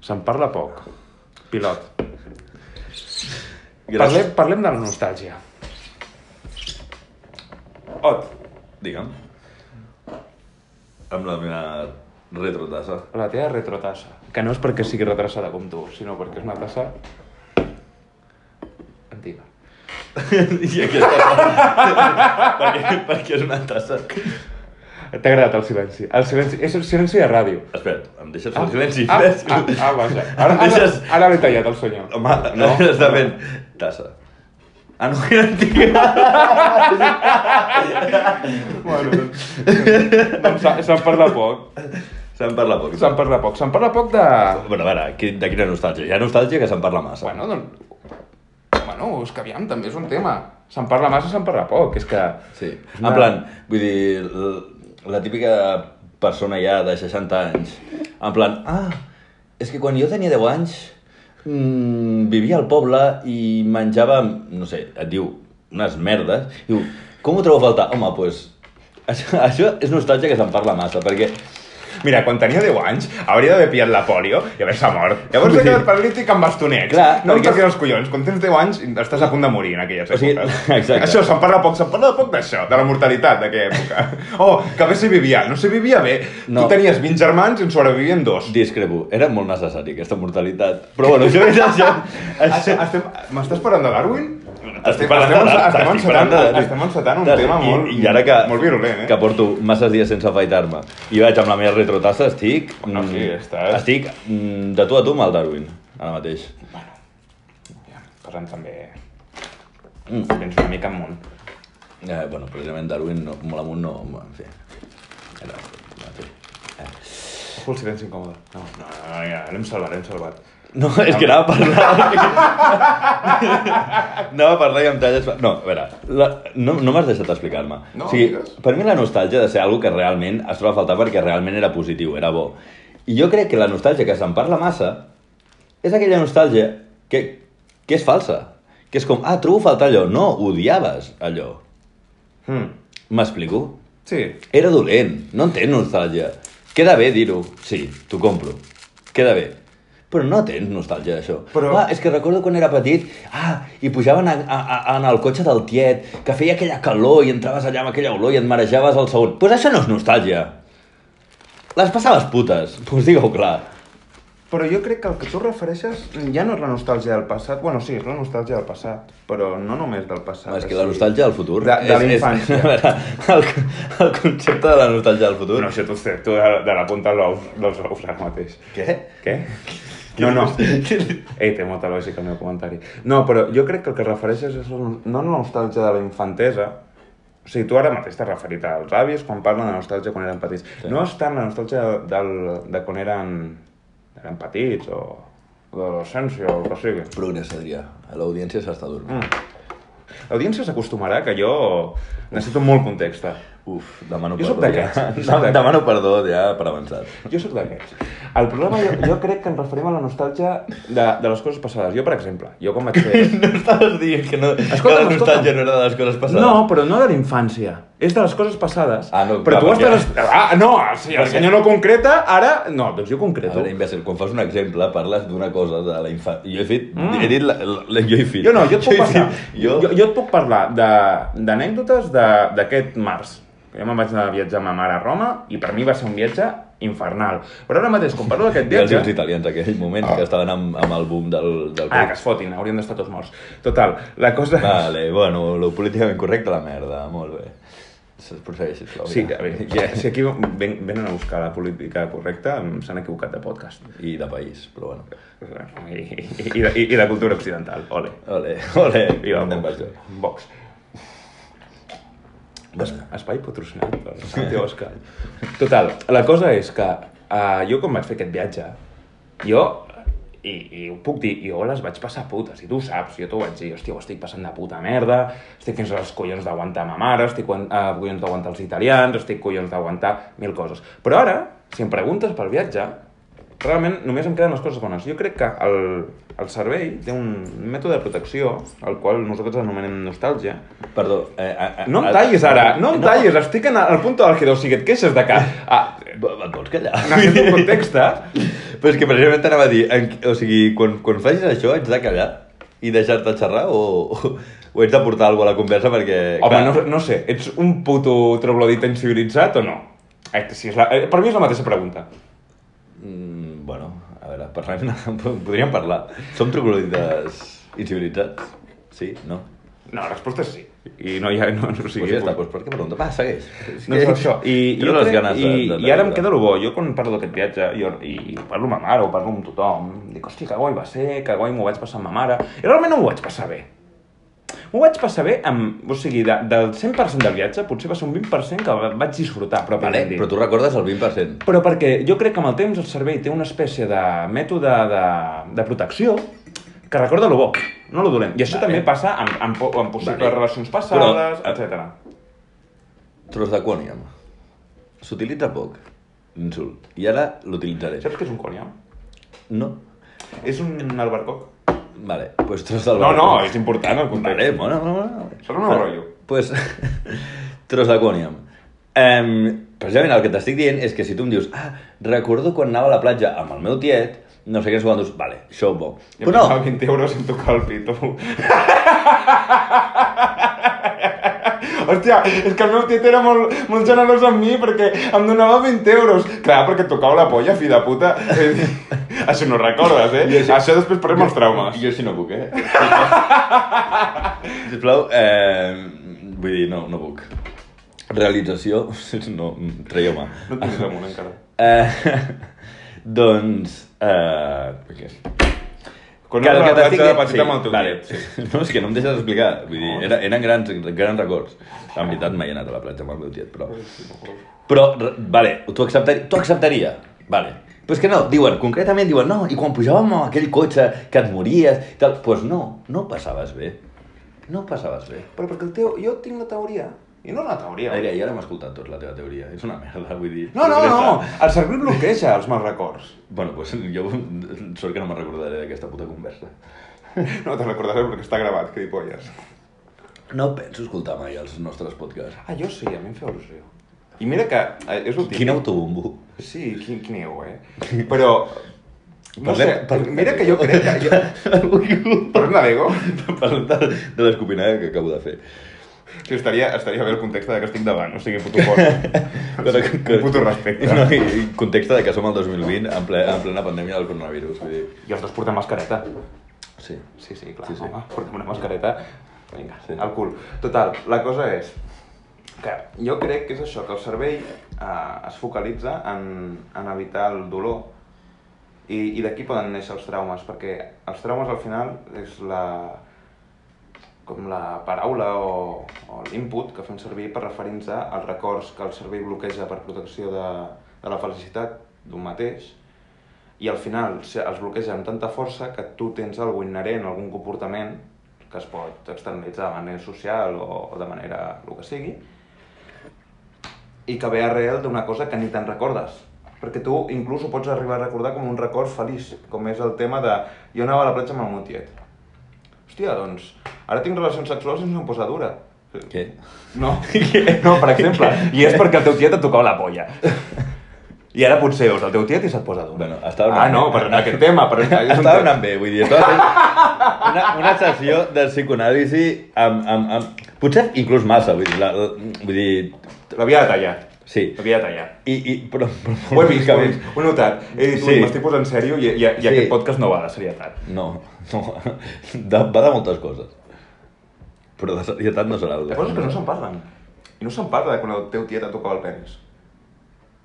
Se'n parla poc. Pilot. Gràcies. Parlem, parlem de la nostàlgia. Ot, digue'm. Amb la meva retrotassa. La teva retrotassa. Que no és perquè sigui retrasada com tu, sinó perquè és una tassa... antiga. I aquesta... perquè, perquè és una tassa... T'ha agradat el silenci. El silenci, és el silenci de ràdio. Espera, em deixes fer silenci? ah, Fes- ah, ah, vaja. Ara, Em ara, deixes... ara l'he tallat, el senyor. Home, no, està fent... Tassa. Ah, no, que antiga. Bueno, doncs, doncs se- se'n parla poc. Se'n parla poc. Se'n parla poc. Se'n parla poc de... Bueno, a veure, qui- de quina nostàlgia? Hi ha nostàlgia que se'n parla massa. Bueno, doncs... Bueno, és que aviam, també és un tema. Se'n parla massa, se'n parla poc. És que... Sí. És En plan, vull dir, l- la típica persona ja de 60 anys, en plan, ah, és que quan jo tenia 10 anys mmm, vivia al poble i menjava, no sé, et diu, unes merdes, diu, com ho trobo a faltar? Home, doncs, pues, això, això és nostàlgia que se'n parla massa, perquè Mira, quan tenia 10 anys, hauria d'haver pillat la polio i haver-se mort. Llavors he Sí. quedat paralític amb bastonets. Clar, no perquè- em toquin els collons. Quan tens 10 anys, estàs a punt de morir en aquelles O sigui, èpoques. exacte. Això, se'n parla poc, se'n parla poc d'això, de la mortalitat d'aquella època. oh, que bé s'hi vivia. No s'hi vivia bé. No. Tu tenies 20 germans i en sobrevivien dos. discrepo, era molt necessari aquesta mortalitat. Però bueno, això és això. Estem- Ah, estem- M'estàs parlant de Darwin? Estem- Estic parlant estem- de- estem estic parlant encetant- de- estem encetant un tema I- molt- i ara que, molt virulent, eh? que porto masses dies sense afaitar-me i vaig amb la meva retrotassa, estic... Bueno, mm, sí, estàs- Estic mm, de tu a tu amb el Darwin, ara mateix. Ja, Parlant també... Mm. Vens una mica amunt. Eh, bueno, precisament Darwin, no, molt amunt, no... bueno, En fi. Era, en fi. Ojo, el silenci incòmode. No, no, no, ja, l'hem salvat, l'hem salvat. No, és que anava a parlar... anava a parlar i em talles... No, a veure, la... no, no m'has deixat explicar-me. No, o sigui, digues. per mi la nostàlgia ha de ser algo que realment es troba a faltar perquè realment era positiu, era bo. I jo crec que la nostàlgia que se'n parla massa és aquella nostàlgia que, que és falsa. Que és com, ah, trobo a faltar allò. No, odiaves allò. Hmm. M'explico? Sí, Era dolent, no tens nostàlgia. Queda bé dir-ho, sí, t'ho compro. Queda bé. Però no tens nostàlgia d'això. Però... Però- Ah, és que recordo quan era petit, ah, i pujaven a, a, a, en el cotxe del tiet, que feia aquella calor i entraves allà amb aquella olor i et marejaves al segon. Doncs pues això no és nostàlgia. Les passaves putes, doncs pues digue-ho clar. Però jo crec que el que tu refereixes ja no és la nostàlgia del passat. Bueno, sí, és la nostàlgia del passat, però no només del passat. Home, és que o la sigui, nostàlgia del futur... De, de la és- és- infància. a veure, el, el concepte de la nostàlgia del futur... No, això t'ho sé, tu de, de la punta de l'ou- dels ous ara mateix. Què? Què? No, no. Ei, té molta lògica el meu comentari. No, però jo crec que el que refereixes és la- no la nostàlgia de la infantesa, o sigui, tu ara mateix t'has referit als avis quan parlen de nostàlgia quan eren petits. Sí. Sí. No és tant la nostàlgia del, de quan eren, eren petits o de l'adolescència o el que sigui. Progrés, Adrià. L'audiència s'està dormint. L'audiència s'acostumarà que jo necessito molt context. Uf, demano Jo soc perdó ja. d'aquests, jo soc d'aquests. Demano perdó ja per avançat. Jo sóc d'aquests. El problema, jo, jo crec que ens referim a la nostàlgia de, de les coses passades. Jo, per exemple, jo quan vaig fer... No estaves dient que, no, que Escolta'm, la nostàlgia escolta'm. no era de les coses passades. No, però no de la infància. És de les coses passades. Ah, no, però clar, tu perquè- estàs... Ah, no, si el Perquè- senyor no concreta, ara... No, doncs jo A concreto. veure, imbècil, quan fas un exemple parles d'una cosa de la infància. Jo he fet... Mm. He dit la, la, la, jo he fet... Jo no, jo et puc he passar. fet- Jo, jo, et puc parlar de- d'anècdotes de- d'aquest març. Que jo me'n vaig anar a viatjar amb ma mare a Roma i per mi va ser un viatge infernal. Però ara mateix, quan parlo d'aquest Ja els viatge... dius italians, aquell moment que estaven amb, amb el boom del... del Ah, que es fotin, haurien d'estar tots morts. Total, la cosa... Vale, bueno, lo políticament correcte, la merda, molt bé. Se procedeix, sisplau. Sí, ja. a veure, Ja. si aquí ven, venen a buscar la política correcta, em- s'han equivocat de podcast. I de país, però bueno. I, i, de, i de cultura occidental, ole. Ole, ole. Viva anem per Vox. això. Vox. Vas. Espai patrocinat per Santi Òscar. Total, la cosa és que uh, jo quan vaig fer aquest viatge, jo, i, i ho puc dir, jo les vaig passar putes, i tu ho saps, jo t'ho vaig dir, hòstia, ho estic passant de puta merda, estic fins als collons d'aguantar ma mare, estic quan- eh, collons d'aguantar els italians, estic collons d'aguantar mil coses. Però ara, si em preguntes pel viatge, realment només em queden les coses bones. Jo crec que el, el cervell té un mètode de protecció, el qual nosaltres anomenem nostàlgia, Perdó. Eh, a, a, No em a- tallis ara, no em tallis, estic en el punt àlgido, o sigui, et queixes de que... Ah, Va- va, Et vols callar? necessito un context, eh? Però és que precisament t'anava a dir, en, o sigui, quan, quan facis això ets de callar i deixar-te xerrar o, o, o ets de portar alguna cosa a la conversa perquè... Home, no, no sé, ets un puto troglodit incivilitzat o no? Eh, Si és la, eh, per mi és la mateixa pregunta. Mm, bueno, a veure, parlem, podríem parlar. Som troglodites incivilitzats? Sí? No? No, la resposta és sí. I no hi ha... No, no, o Sí, sigui, pues ja està, doncs per què pregunta? Va, segueix. És No que- és això. I, Treure jo les crec, ganes i, de, de, de i ara em viure. queda el bo. Jo quan parlo d'aquest viatge, jo, i, i ho parlo amb ma mare, ho parlo amb tothom, dic, hosti, que guai va ser, que guai m'ho vaig passar amb ma mare. I realment no m'ho vaig passar bé. M'ho vaig passar bé amb... O sigui, de, del 100% del viatge, potser va ser un 20% que vaig disfrutar, però Vale, però tu recordes el 20%. Però perquè jo crec que amb el temps el cervell té una espècie de mètode de, de protecció que recorda lo bo, no lo dolent. I això Vale. també passa amb, amb, po- amb possibles Vale. relacions Però- passades, etc. Tros d'aquònium. S'utilitza poc. Insult. I ara l'utilitzaré. Saps què és un còniam? No. És un albercoc. Vale, doncs pues tros del No, no, balcó. és important el context. Vale, bueno, bueno, bueno. Sona un rotllo. Pues, tros d'aquònium. Um, precisament el que t'estic dient és que si tu em dius ah, recordo quan anava a la platja amb el meu tiet, no sé què, no sé dius, vale, això bo. Jo Però pensava no, 20 euros en tocar el pito. Hòstia, és que el meu tiet era molt, molt generós amb mi perquè em donava 20 euros. Clar, perquè et tocava la polla, fi de puta. És a dir, Això no ho recordes, eh? Jo sí. Això després parlem els traumes. Jo sí no puc, eh? Sisplau, eh, vull dir, no, no puc. Realització, no, traieu-me. No tinc damunt encara. Eh, doncs, eh, què? Quan era la platja t'estic de dient- petita amb el teu vale. tiet. Sí. No, és que no em deixes explicar. Vull dir, No. era, eren grans, grans records. En veritat mai he anat a la platja amb el meu tiet, però... Sí. Però, re- vale, tu, acceptar, tu acceptaria. Vale. Però és que no, diuen, concretament diuen, no, i quan pujàvem amb aquell cotxe que et mories, i tal, doncs pues no, no ho passaves bé. No ho passaves bé. Però perquè el teu... Jo tinc la teoria. I no la teoria. Aire, i ara m'ha escoltat tot la teva teoria. És una merda, vull dir... No, no, no. regressa. El cervell bloqueja els mals records. Bueno, doncs pues, jo sort que no me'n recordaré d'aquesta puta conversa. No te'n recordaré perquè està gravat, gilipolles. No penso escoltar mai els nostres podcasts. Ah, jo sí, a mi em feia il·lusió. I mira que eh, és el típic... Quin autobombo. Sí, quin, quin eu, eh? Però... No Parlem- sé, parlem mira de que jo Lego. crec que... Jo... Parlem de Lego? Parlem de, de l'escopinada que acabo de fer. Sí, estaria, estaria bé el context de que estic davant, o sigui, puto fort. Però que- que- Un puto respecte. No, i, i context de que som al 2020 en, ple, en plena pandèmia del coronavirus. Vull dir, I els dos portem mascareta. sí. Sí, sí, clar, Sí, sí, sí. sí. home, portem una mascareta. Vinga, Sí. sí. al cul. Total, la cosa és que jo crec que és això, que el cervell eh, es focalitza en, en evitar el dolor i, i d'aquí poden néixer els traumes, perquè els traumes al final és la com la paraula o, o l'input que fem servir per referir-nos als records que el cervell bloqueja per protecció de, de la felicitat d'un mateix i al final se- els bloqueja amb tanta força que tu tens alguna inherent, algun comportament que es pot externalitzar de manera social o, o de manera el que sigui i que ve arrel d'una cosa que ni te'n recordes perquè tu inclús ho pots arribar a recordar com un record feliç, com és el tema de jo anava a la platja amb el meu tiet. Hòstia, doncs, ara tinc relacions sexuals i no em posa dura. Què? No, no, per exemple. I és perquè el teu tiet et tocava la polla. I ara potser veus el teu tiet i se't posa dura. Bueno, estava ah, anant no, bé. per aquest tema. Per... és un Estava tema. anant bé, vull dir, estava fent una, una sessió de psicoanàlisi amb, amb, amb... Potser inclús massa, vull dir, la, la, vull dir L'havia de tallar. sí. L'havia de tallar. I, i, però, però Ho he vist, ho he vist, ho he notat. He dit, Sí. sí. m'estic posant sèrio i, i, i Sí. aquest podcast no va de serietat. No, no. De, va de moltes coses. Però de serietat no serà. el- Hi ha coses que no se'n parlen. I no se'n parla de quan el teu tiet et tocava el penis.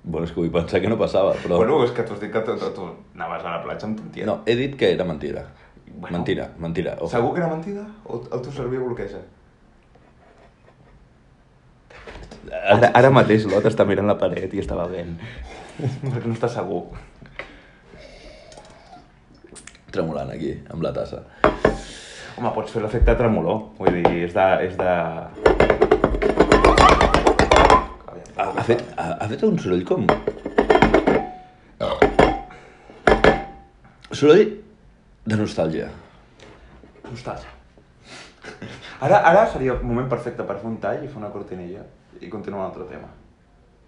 Bueno, és que vull pensar que no passava, però... Bueno, és que t'ho has dit que tu, tu, tu anaves a la platja amb ton tiet. No, he dit que era mentida. Bueno. Mentira, mentira. Ojo. Segur que era mentida o el teu cervell ho bloqueja? Ara, ara mateix l'Ot està mirant la paret i estava vent. Perquè no està segur. Tremolant aquí, amb la tassa. Home, pots fer l'efecte tremolor. Vull dir, és de... És de... Ah, Ha, ha, fet, ha, ha fet un soroll com... Soroll de nostàlgia. Ostres. Ara, ara seria el moment perfecte per fer un tall i fer una cortinilla i continuar un altre tema.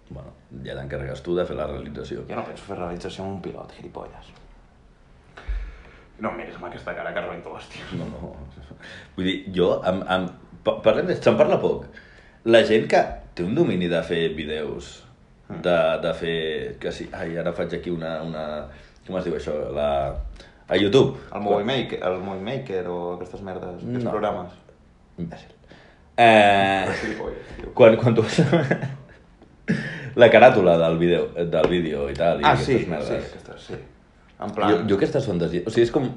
Bueno, ja t'encarregues tu de fer la realització. Jo no penso fer realització amb un pilot, gilipolles. No em miris amb aquesta cara que rebento, hòstia. No, no. Vull dir, jo... Amb, amb... pa- Parlem de... Se'n parla poc. La gent que té un domini de fer vídeos, de, de fer... Que sí, ai, ara faig aquí una... una... Com es diu això? La... A YouTube. El Movie Maker, el Movie Maker o aquestes merdes, aquests No. programes. Imbècil. Eh, Gilipolles, tio. quan, quan tu vas... la caràtula del vídeo, del vídeo i tal. I Ah, sí, aquestes sí, merdes. aquestes, sí. En plan... Jo, jo aquestes fantasies... O sigui, és com...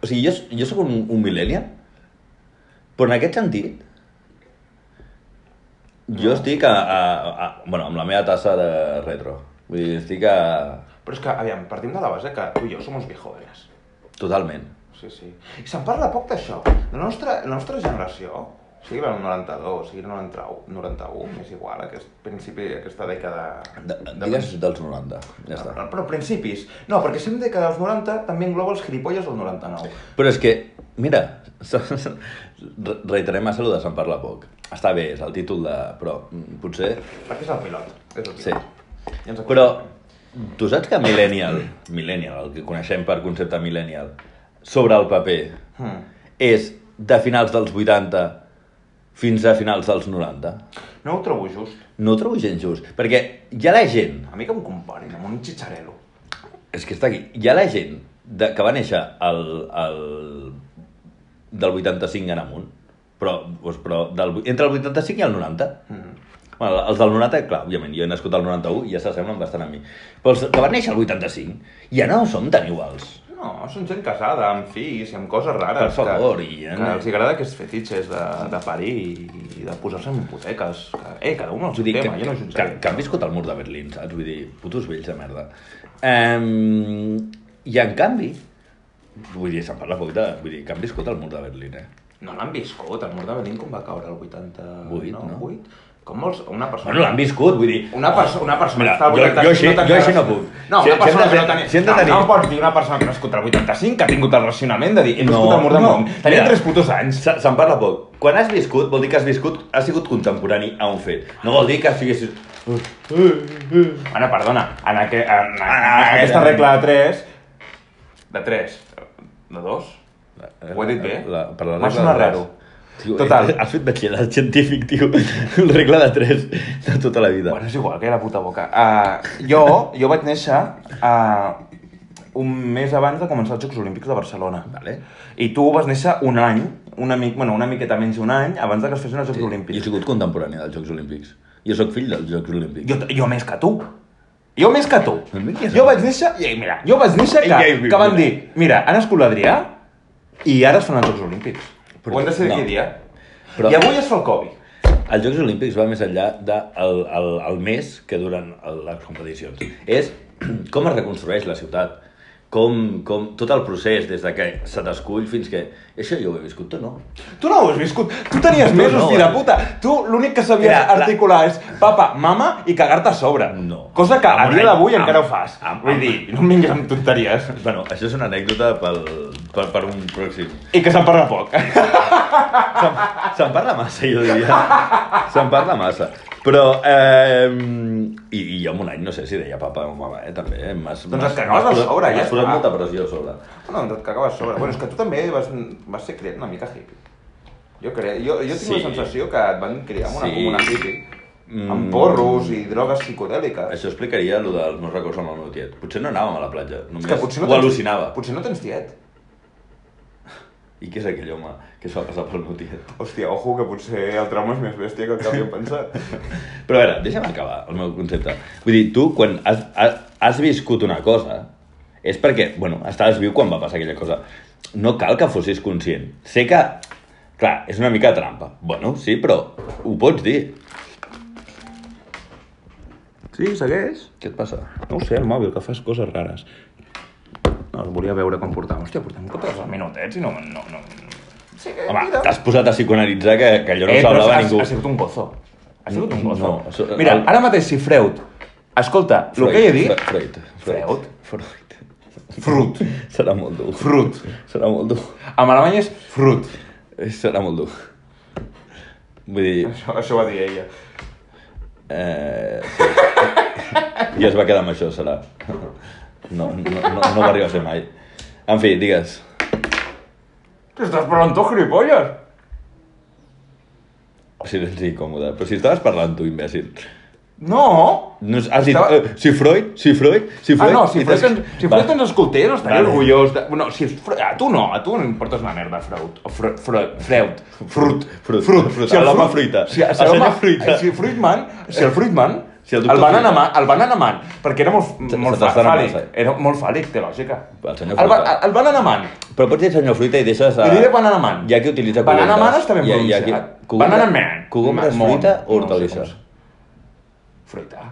O sigui, jo, jo sóc un, un millennial, però en aquest sentit... Jo estic a, a, a, Bueno, amb la meva tassa de retro. Vull dir, estic a... Però és que, aviam, partim de la base que tu i jo som uns viejovenes. Totalment. Sí, sí. I se'n parla poc d'això. La nostra, la nostra generació, sigui el 92, sigui el 91, 91 és igual, aquest principi, aquesta dècada... De, digues dels 90, Ah, ja està. Però principis. No, perquè si em que dels 90 també engloba els gilipolles del 99. Però és que, mira, re- reiterem a salut de se'n parla poc. Està bé, és el títol de... Però mm, potser... Perquè és el pilot. És el pilot. Sí. I ens Però tu saps que millennial, millennial, el que coneixem per concepte millennial, sobre el paper, Hmm. és de finals dels 80 fins a finals dels 90? No ho trobo just. No ho trobo gens just, perquè hi ha la gent, A mi que em comparin amb un xitxarelo. és que està aquí, hi ha la gent de, que va néixer el, el, del 85 en amunt, però, doncs, però del, vu- entre el 85 i el 90, Mm. Bueno, els del 90, clar, òbviament, jo he nascut al 91 i ja s'assemblen bastant a mi. Però els que van néixer al 85 ja no som tan iguals. No, són gent casada, amb fills i amb coses rares. Per favor, que, i- eh, que els agrada aquests fetitxes de, de parir i, i de posar-se en hipoteques. Que, eh, cada un el seu Vull dir, que, tema, jo no que, que, jutjaré. que han viscut al mur de Berlín, saps? Vull dir, putos vells de merda. Um, I en canvi, vull dir, se'n parla poc de... Vull dir, que han viscut al mur de Berlín, eh? No l'han viscut, el mur de Berlín com va caure el 88, Vuit, no? 8? Com vols, una persona... Bueno, l'han viscut, vull dir... Una, perso una persona Mira, que està al 85 jo- jo així- no tenia jo així no raci- puc. No, una Si- si persona hem de que no ser- tenia... si hem de no, tenir- no em pots dir una persona que ha nascut al 85 que ha tingut el racionament de dir he No, nascut al mur de no. Berlín. Tenia Mira. 3 putos anys. Se- Se'n parla poc. Quan has viscut, vol dir que has viscut, has sigut contemporani a un fet. No vol dir que estiguessis... Bueno, perdona, en, aqu en, en, Ah, en aquesta ah, regla de 3... De 3? De 2? Ho he dit bé? La, per la M'ha regla sonat de tres. raro. Tio, Total. Has fet batxillerat científic, tio. Regla de 3 de tota la vida. Bueno, és igual, que era puta boca. Uh, jo, jo vaig néixer uh, un mes abans de començar els Jocs Olímpics de Barcelona. Vale. I tu vas néixer un any, una, mic, bueno, una miqueta menys d'un any, abans de que es fessin els Jocs Jo he Olímpics. sigut contemporani dels Jocs Olímpics. Jo sóc fill dels Jocs Olímpics. Jo, jo més que tu. Jo més que tu. Doncs mira qui és Jo el- vaig néixer... I mira, jo vaig néixer Ell que, ja hi viu, que van mira. dir... Mira, han nascut l'Adrià i ara es fan els Jocs Olímpics. Però- Ho hem decidit no. no. dia. Però- Però... I avui es fa el Covid. Els Jocs Olímpics va més enllà del el, el, el mes que duren el- les competicions. És com es reconstrueix la ciutat, com, com tot el procés des de que se t'escull fins que... Això jo ho he viscut, tu no. Tu no ho has viscut. Tu tenies Tu mesos, no, no, de eh? puta. Tu l'únic que sabies Era la- articular és papa, mama i cagar-te a sobre. No. Cosa que a Amb dia un any. d'avui Amb- encara ho fas. amb- Vull amb- dir, no em vinguis amb tonteries. Bueno, això és una anècdota pel, per, per un pròxim. I que se'n parla poc. Se'n se'n parla massa, jo diria. Se'n parla massa. Però, eh, i, i jo en un any no sé si deia papa o mama, eh, també. Eh? M'has- Doncs m'has- et cagaves m'has a posat- sobre, ja M'has posat està. molta pressió a sobre. No, doncs et cagaves sobre. Bueno, és que tu també vas, vas ser criat una mica hippie. Jo, crec, jo, jo tinc Sí. la sensació que et van criar amb una Sí. comuna hippie. Mm. Amb porros i drogues psicodèliques. Això explicaria el dels meus records amb el meu tiet. Potser no anàvem a la platja, només És que potser no ho tens- al·lucinava. Potser no tens tiet. I què és aquell home que es va passar pel meu tiet? Hòstia, ojo, que potser el trauma és més bèstia que el que havíem pensat. Però a veure, deixa'm acabar el meu concepte. Vull dir, tu, quan has, has, has viscut una cosa, és perquè, bueno, estaves viu quan va passar aquella cosa. No cal que fossis conscient. Sé que, clar, és una mica trampa. Bueno, sí, però ho pots dir. Sí, segueix. Què et passa? No ho sé, el mòbil, que fas coses rares. No, el volia veure com portava. Hòstia, portem 14 minutets i no... no, no. Sí, que, Home, t'has posat a psicoanalitzar que, que allò no eh, però semblava ha- ningú. Ha sigut un gozo. Ha sigut un No, gozo. això- Mira, el- ara mateix si Freud... Escolta, el que he dit... Freud. Freud. Freud. Frut. Serà molt dur. Frut. Serà molt dur. En alemany és frut. Eh, Serà molt dur. Vull dir, Això, això va dir ella. Eh, sí. I es va quedar amb això, serà. No, no, no, no va arribar a ser mai. En fi, digues. Que estàs parlant tu, gilipolles? Silenci incòmode. Però si estaves parlant tu, imbècil. No! No, has dit, Estava- eh, si Freud, si Freud, Ah, si Freud... no, si i Freud, t'has- ens, si Va. Freud ens escoltés, estaria Vale. orgullós. De... No, si és Freud, a tu no, a tu no em portes una merda, Freud. O Fre, Fre, Freud. Frut. Frut. Frut. Frut. Si el L'home Frut- fruita. Si, El si el senyor home, eh, fruita. Si Fruitman, si el Fruitman, Si el el, doctor el, van Fruita. anar, mà- el van anar amant, perquè era molt, Se- molt se fa, t'està anant fàl·lic. massa. Era molt fàl·lic, té lògica. El senyor el, va, Fruita. el van anar amant. Però pots dir senyor Fruita i deixes... A... Li diré banana man. Hi ha qui utilitza Banana cucumbres. man està ben Hi ha- hi ha qui- pronunciat. cucumbres- Banana man. Cucumbres, Man. fruita o No sé com hortalisses? es- Fruita.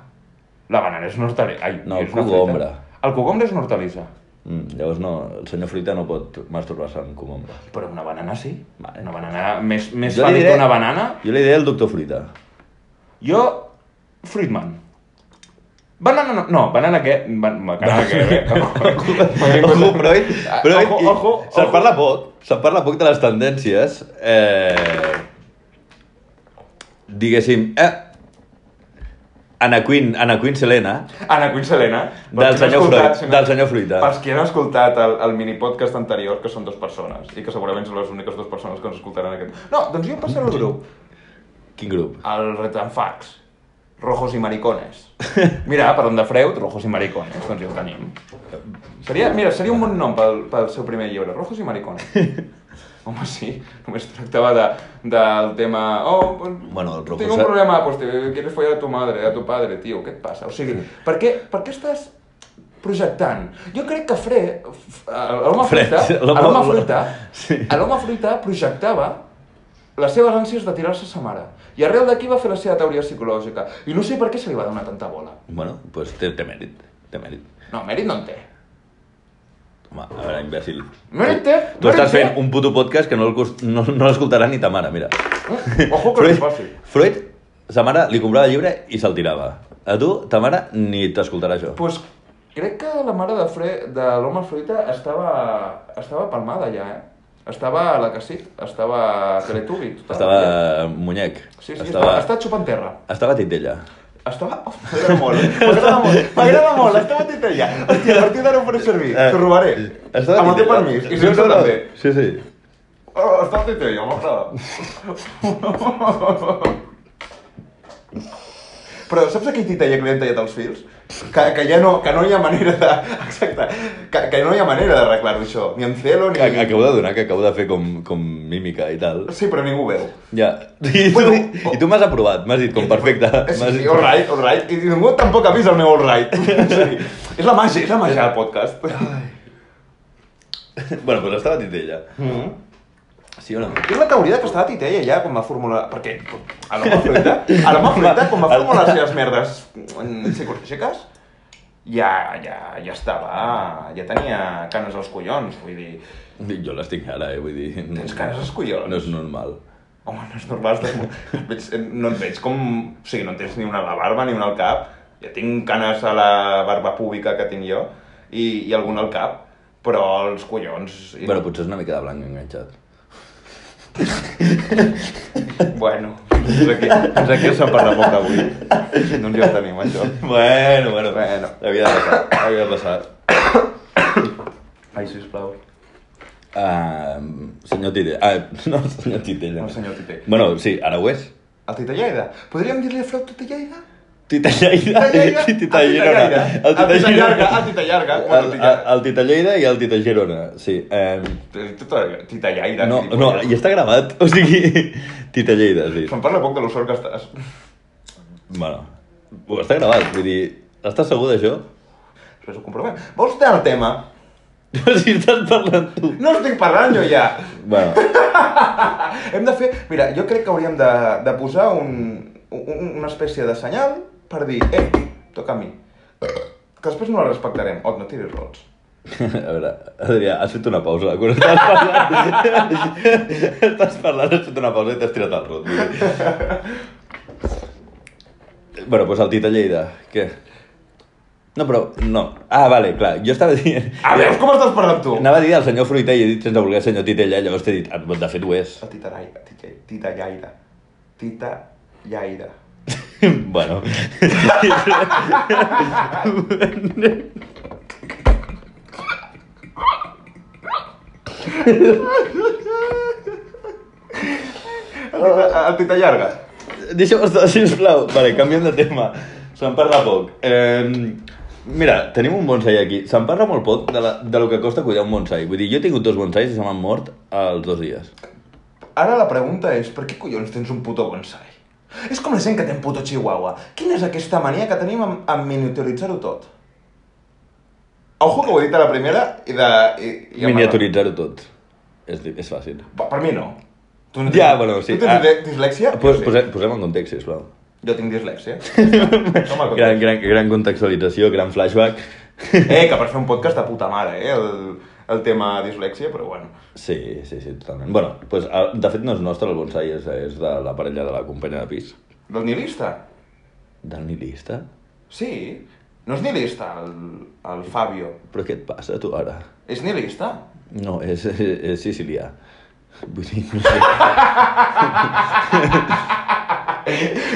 La banana és una hortalissa. Ai, No, és una cogombre. fruita. El cogombre és una hortalissa. Mm, llavors no, el senyor Fruita no pot masturbar-se amb cogombre. Però una banana sí. Vale. Una banana més, més Jo li fàl·lic diré- que una banana. Jo li diré el doctor Fruita. Jo, Fruitman. Banana no, no banana què? Ban banana què? eh? Ojo, Freud, Freud Ojo, i- ojo, Se'n ojo. parla poc, se'n parla poc de les tendències. Eh, diguéssim, eh, Anna Queen, Anna Queen Selena, Anna Queen Selena. per qui no ha Del senyor escoltat, Freud, eh. si no- del senyor Fruita. Pels qui han escoltat el, el minipodcast anterior, que són dues persones, i que segurament són les úniques dues persones que ens escoltaran aquest... No, doncs jo em passaré al grup, Quin grup? al Retanfax, Rojos i Maricones. Mira, parlant de Freud, Rojos i Maricones, doncs ja ho tenim. Seria, mira, seria un bon nom pel, pel seu primer llibre, Rojos i Maricones. Home, sí, només tractava de, del tema... Oh, Bueno, el Rojos- Tinc un problema, pues te quieres follar a tu madre, a tu padre, tio, què et passa? O sigui, per què, per què estàs projectant? Jo crec que Fre, f- eh, l'home Fre- fruita, l'home- l'home fruita, Sí. l'home fruita projectava les seves ànsies de tirar-se a sa mare. I arrel d'aquí va fer la seva teoria psicològica. I no sé per què se li va donar tanta bola. Bueno, pues té, té mèrit, té mèrit. No, mèrit no en té. Home, a veure, imbècil. Mèrit té, Tu mèrit estàs té. fent un puto podcast que no el cost- no, no l'escoltarà ni ta mare, mira. Mm, Ojo que no és fàcil. Freud, sa mare li comprava el llibre i se'l tirava. A tu, ta mare, ni t'escoltarà això. Pues crec que la mare de, Fre de l'home fruita estava, estava palmada ja, eh? Estava a la Cassit, estava a Teletubi. total. Estava eh, muñec. Sí, sí, estava... estava, estava xupant terra. estava titella. Estava... Oh, M'agrada molt, m'agrada molt, m'agrada molt, estava dit allà. Hòstia, a partir d'ara ho faré servir, t'ho robaré. Eh, Estava Amb el teu titella. permís, i Sí, si no, no, no. també. Sí, sí. Oh, estava dit allà, m'agrada. Però saps aquell titella que li han tallat els fils? Que, que ja no, que no hi ha manera de... Exacte, que, que no hi ha manera d'arreglar-ho això. Ni amb celo, ni... Ac- Acabo de donar que acabo de fer com, com mímica i tal. Sí, però ningú ho veu. Ja. I tu, Bueno, i tu m'has aprovat, m'has dit com perfecte. Sí, M'has sí, dit- all right, all right. I ningú tampoc ha vist el meu all right. Sí. És la màgia, és la màgia del podcast. Bueno, doncs estava titella. Mm. Sí o no? És la teoria de que estava titella ja com va formular... Perquè a l'home fruita, a l'home fruita, com va formular les seves merdes mm, psicològiques, ja, ja, ja estava, ja tenia canes als collons, vull dir... Jo les tinc ara, eh? Vull dir... no- Tens canes als collons. No és normal. Home, no és normal, estàs... molt- et veig, no et veig com... O sigui, no en tens ni una a la barba ni una al cap. Ja tinc canes a la barba pública que tinc jo i, i alguna al cap, però els collons... I... Bueno, potser és una mica de blanc enganxat. bueno, fins aquí, fins aquí s'ha parlat poc avui. Doncs ja ho tenim, això. Bueno, bueno. Bueno. Havia de passar, havia de passar. Ai, sisplau. Uh, senyor Titella. Ah, no, senyor Titella. No, senyor Titella. Bueno, sí, ara ho és. El Tita Lleida. Podríem dir-li Frau Tita Lleida? Tita Lleida, Ah, i Tita Girona. El Tita Llarga, el Tita Llarga. Bueno, El, Tita- el Tita Ah, Lleida i el Tita Girona, sí. Eh, Tita- Tita Lleida. no, gilipolles. no, i està gravat, o sigui, Tita Lleida, sí. Se'n parla poc de lo sort que estàs. Bueno, ho està gravat, vull dir, estàs segur d'això? Després ho comprovem. Vols anar al tema? Si estàs parlant tu. No estic parlant jo ja. Bueno, Hem de fer... Mira, jo crec que hauríem de, de posar un, un, una espècie de senyal per dir, eh, toca a mi. Que després no la respectarem. Ot, no tiris rols. a veure, Adrià, has fet una pausa quan estàs parlant. estàs parlant, has fet una pausa i t'has tirat al rot. vull dir. Bueno, doncs el Tita Lleida, què? No, però, no. Ah, vale, clar, jo estava dient... A veure, com estàs parlant tu? Anava a dir el senyor Fruita i he dit sense voler el senyor Titella, llavors t'he dit, "Ah, de fet ho és. El Tita Lleida. Tita Lleida. Tita Lleida. bueno. El pita llarga. Deixa'm estar, sisplau. Vale, canviem de tema. Se'n parla poc. Eh, mira, tenim un bonsai aquí. Se'n parla molt poc de, la, de lo que costa cuidar un bonsai. Vull dir, jo he tingut dos bonsais i se m'han mort als dos dies. Ara la pregunta és, per què collons tens un puto bonsai? És com la gent que té un puto chihuahua. Quina és aquesta mania que tenim amb, amb miniaturitzar-ho tot? Ojo que ho he dit a la primera i de... I, i amb- Miniaturitzar-ho tot. És, di- és fàcil. Per, per mi no. Tu no Ja, bueno, sí. Tu tens Ah. eh, di- dislèxia? Pos, Jo posem, posem en context, sisplau. Jo tinc dislèxia. no me'l Gran, gran, gran contextualització, gran flashback. Eh, que per fer un podcast de puta mare, eh, el, el tema dislèxia, però bueno. Sí, sí, sí, totalment. bueno, pues, el- de fet no és nostre el bonsai, és, és de la parella de la companya de pis. Del nihilista? Del nihilista? Sí. No és nihilista, el, el Fabio. Però què et passa, tu, ara? És nihilista? No, és, és, és sicilià. Vull dir, no sé.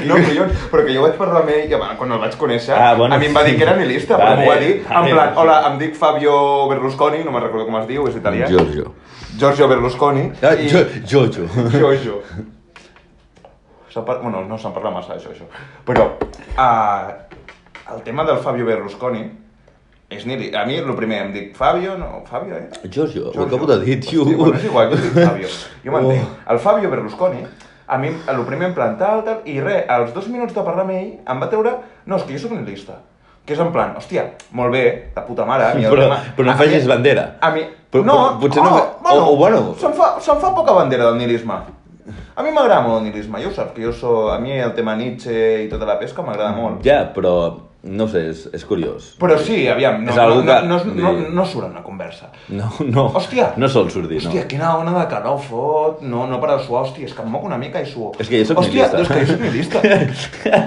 No, collons, però que jo vaig parlar amb ell, i, home, quan el vaig conèixer, Ah, bueno, a mi em va dir sí. que era nihilista, Va però m'ho va bé, dir, va en bé, plan, sí. hola, em dic Fabio Berlusconi, no me'n recordo com es diu, és italià. Giorgio. Giorgio Berlusconi. Ah, jo, Jojo. Jojo. Se'n Par... Bueno, no se'n parla massa d'això, això. Però uh, el tema del Fabio Berlusconi és nili. A mi el primer em dic Fabio, no, Fabio, eh? Giorgio, ho Giorgio. acabo de dir, tio. Hosti, bueno, és igual, jo dic Fabio. Jo m'entenc. Oh. El Fabio Berlusconi, a mi el primer em plantà el tal, i res, als dos minuts de parlar amb ell em va treure, no, és que jo sóc nihilista. Que és en plan, hòstia, molt bé, de puta mare. a mi el Però, tema- però a no mi- facis bandera. a mi... Però- no, oh, però potser no- bueno, o- o bueno. Se'n fa, se'n fa poca bandera del nihilisme. A mi m'agrada molt el nihilisme, jo ho saps, que jo so, a mi el tema Nietzsche i tota la pesca m'agrada molt. Mm. Ja, però no ho sé, és, és curiós. Però sí, aviam, no, És no, algú no, no, que- no, vull dir- no surt en una conversa. No, no. Hòstia! No sol sortir, Hòstia, no. quina ona de calor fot, no, no para de suar, hòstia, és que em moc una mica i suo. És que jo sóc hòstia, nihilista. és que jo soc nihilista.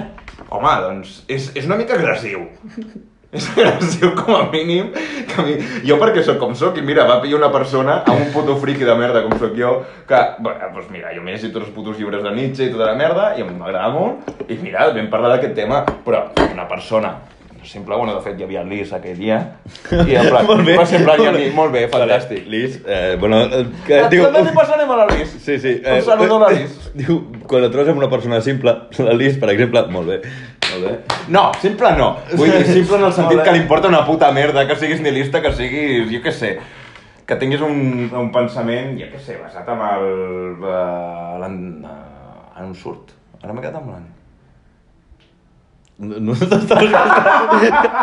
Home, doncs, és, és una mica agressiu. És agressiu com a mínim. Que a mi... Jo perquè sóc com sóc i mira, va pillar una persona amb un puto friki de merda com sóc jo, que, bueno, doncs mira, jo m'he llegit tots els putos llibres de Nietzsche i tota la merda, i a mi m'agrada molt, i mira, vam parlar d'aquest tema, però una persona simple, bueno, de fet hi havia el Lis aquell dia, i en plan, Molt bé. va ser en plan, i a mi, molt bé, fantàstic. Lis, eh, bueno, eh, Que, que, diu... diu... També passarem a la Lis. Sí, sí. eh, Un saludo a la Lis. Diu, quan et trobes amb una persona simple, la Lis, per exemple, molt bé, molt bé. No, simple no. Vull dir, simple en el sentit Hola. que li importa una puta merda, que siguis nihilista, que siguis, jo què sé, que tinguis un, un pensament, jo què sé, basat en el... eh, l'en- eh, Ara em surt. Ara m'he quedat en blanc. No, no t'estava escoltant.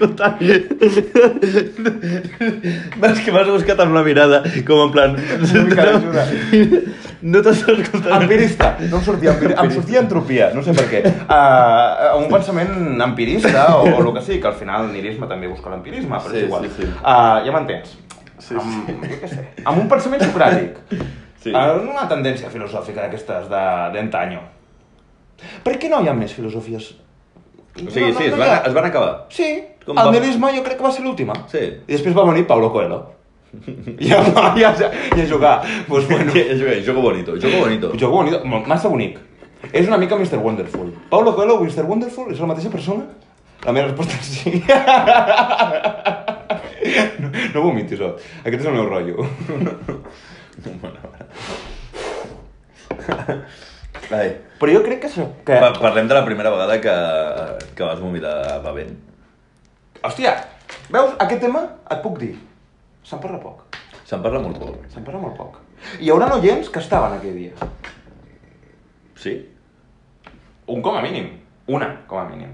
No t'estava escoltant. Vas que m'has buscat amb la mirada, com en plan... mica d'ajuda. No t'estava escoltant. Empirista. No em sortia empirista. Em sortia entropia, no sé per què. Uh, un pensament empirista o, o el que sigui, que al final el nihilisme també busca l'empirisme, però Sí, és igual. sí, sí. Uh, ja m'entens. Sí, amb, jo què sé, amb un pensament socràtic. Sí. Sí. Amb una tendència filosòfica d'aquestes de- d'antanyo. Per què no hi ha més filosofies? O sigui, sí, es van, es van acabar. Sí, Com el va- nihilisme jo crec que va ser l'última. Sí. I després va venir Paulo Coelho. I a, i a, i a jugar. Pues bueno, Sí, és bé, jogo bonito, jogo bonito. jo bonito, mo- massa bonic. És una mica Mr. Wonderful. Paulo Coelho, Mr. Wonderful, és la mateixa persona? La meva resposta és sí. No, no vomitis, Ot. Aquest és el meu rotllo. Ai. Però jo crec que això... Que... Pa Parlem de la primera vegada que, que vas vomitar bevent. Hòstia, veus? Aquest tema et puc dir. Se'n parla poc. Se'n parla molt poc. Se'n parla molt poc. Hi haurà oients que estaven aquell dia. Sí? Un com a mínim. Una, com a mínim.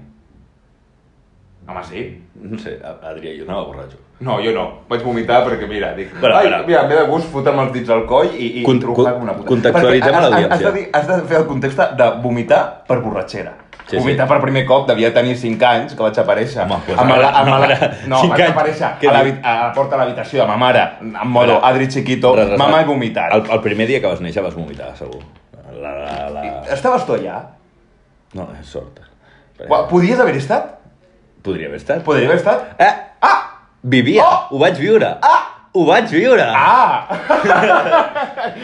Home, sí. No sé, a- Adrià, jo anava borratxo. No, jo no. Vaig vomitar perquè, mira, dic... Però, ai, però- mira, em ve de gust fotre'm els dits al coll i, i Con- trucar-me una puta. contextualitzem Perquè a has- l'audiència. Has, has, de dir- has de fer el context de vomitar per borratxera. Sí, Sí, vomitar sí. per primer cop, devia tenir 5 anys, que vaig aparèixer. Home, pues amb ara- la, amb no, la, ara- no, cinc vaig anys, aparèixer què a la, dius? vit- a la porta de l'habitació de ma mare, en modo Espera. Adri Chiquito, Res, res, mamà res. he vomitat. El, el primer dia que vas néixer vas vomitar, segur. La, la, la... Estaves tu allà? No, és sort. Uau, Podies haver estat? Podria haver estat. Podria haver estat? Eh, Ah! vivia, Oh! ho vaig viure. Ah! Ho vaig viure. Ah!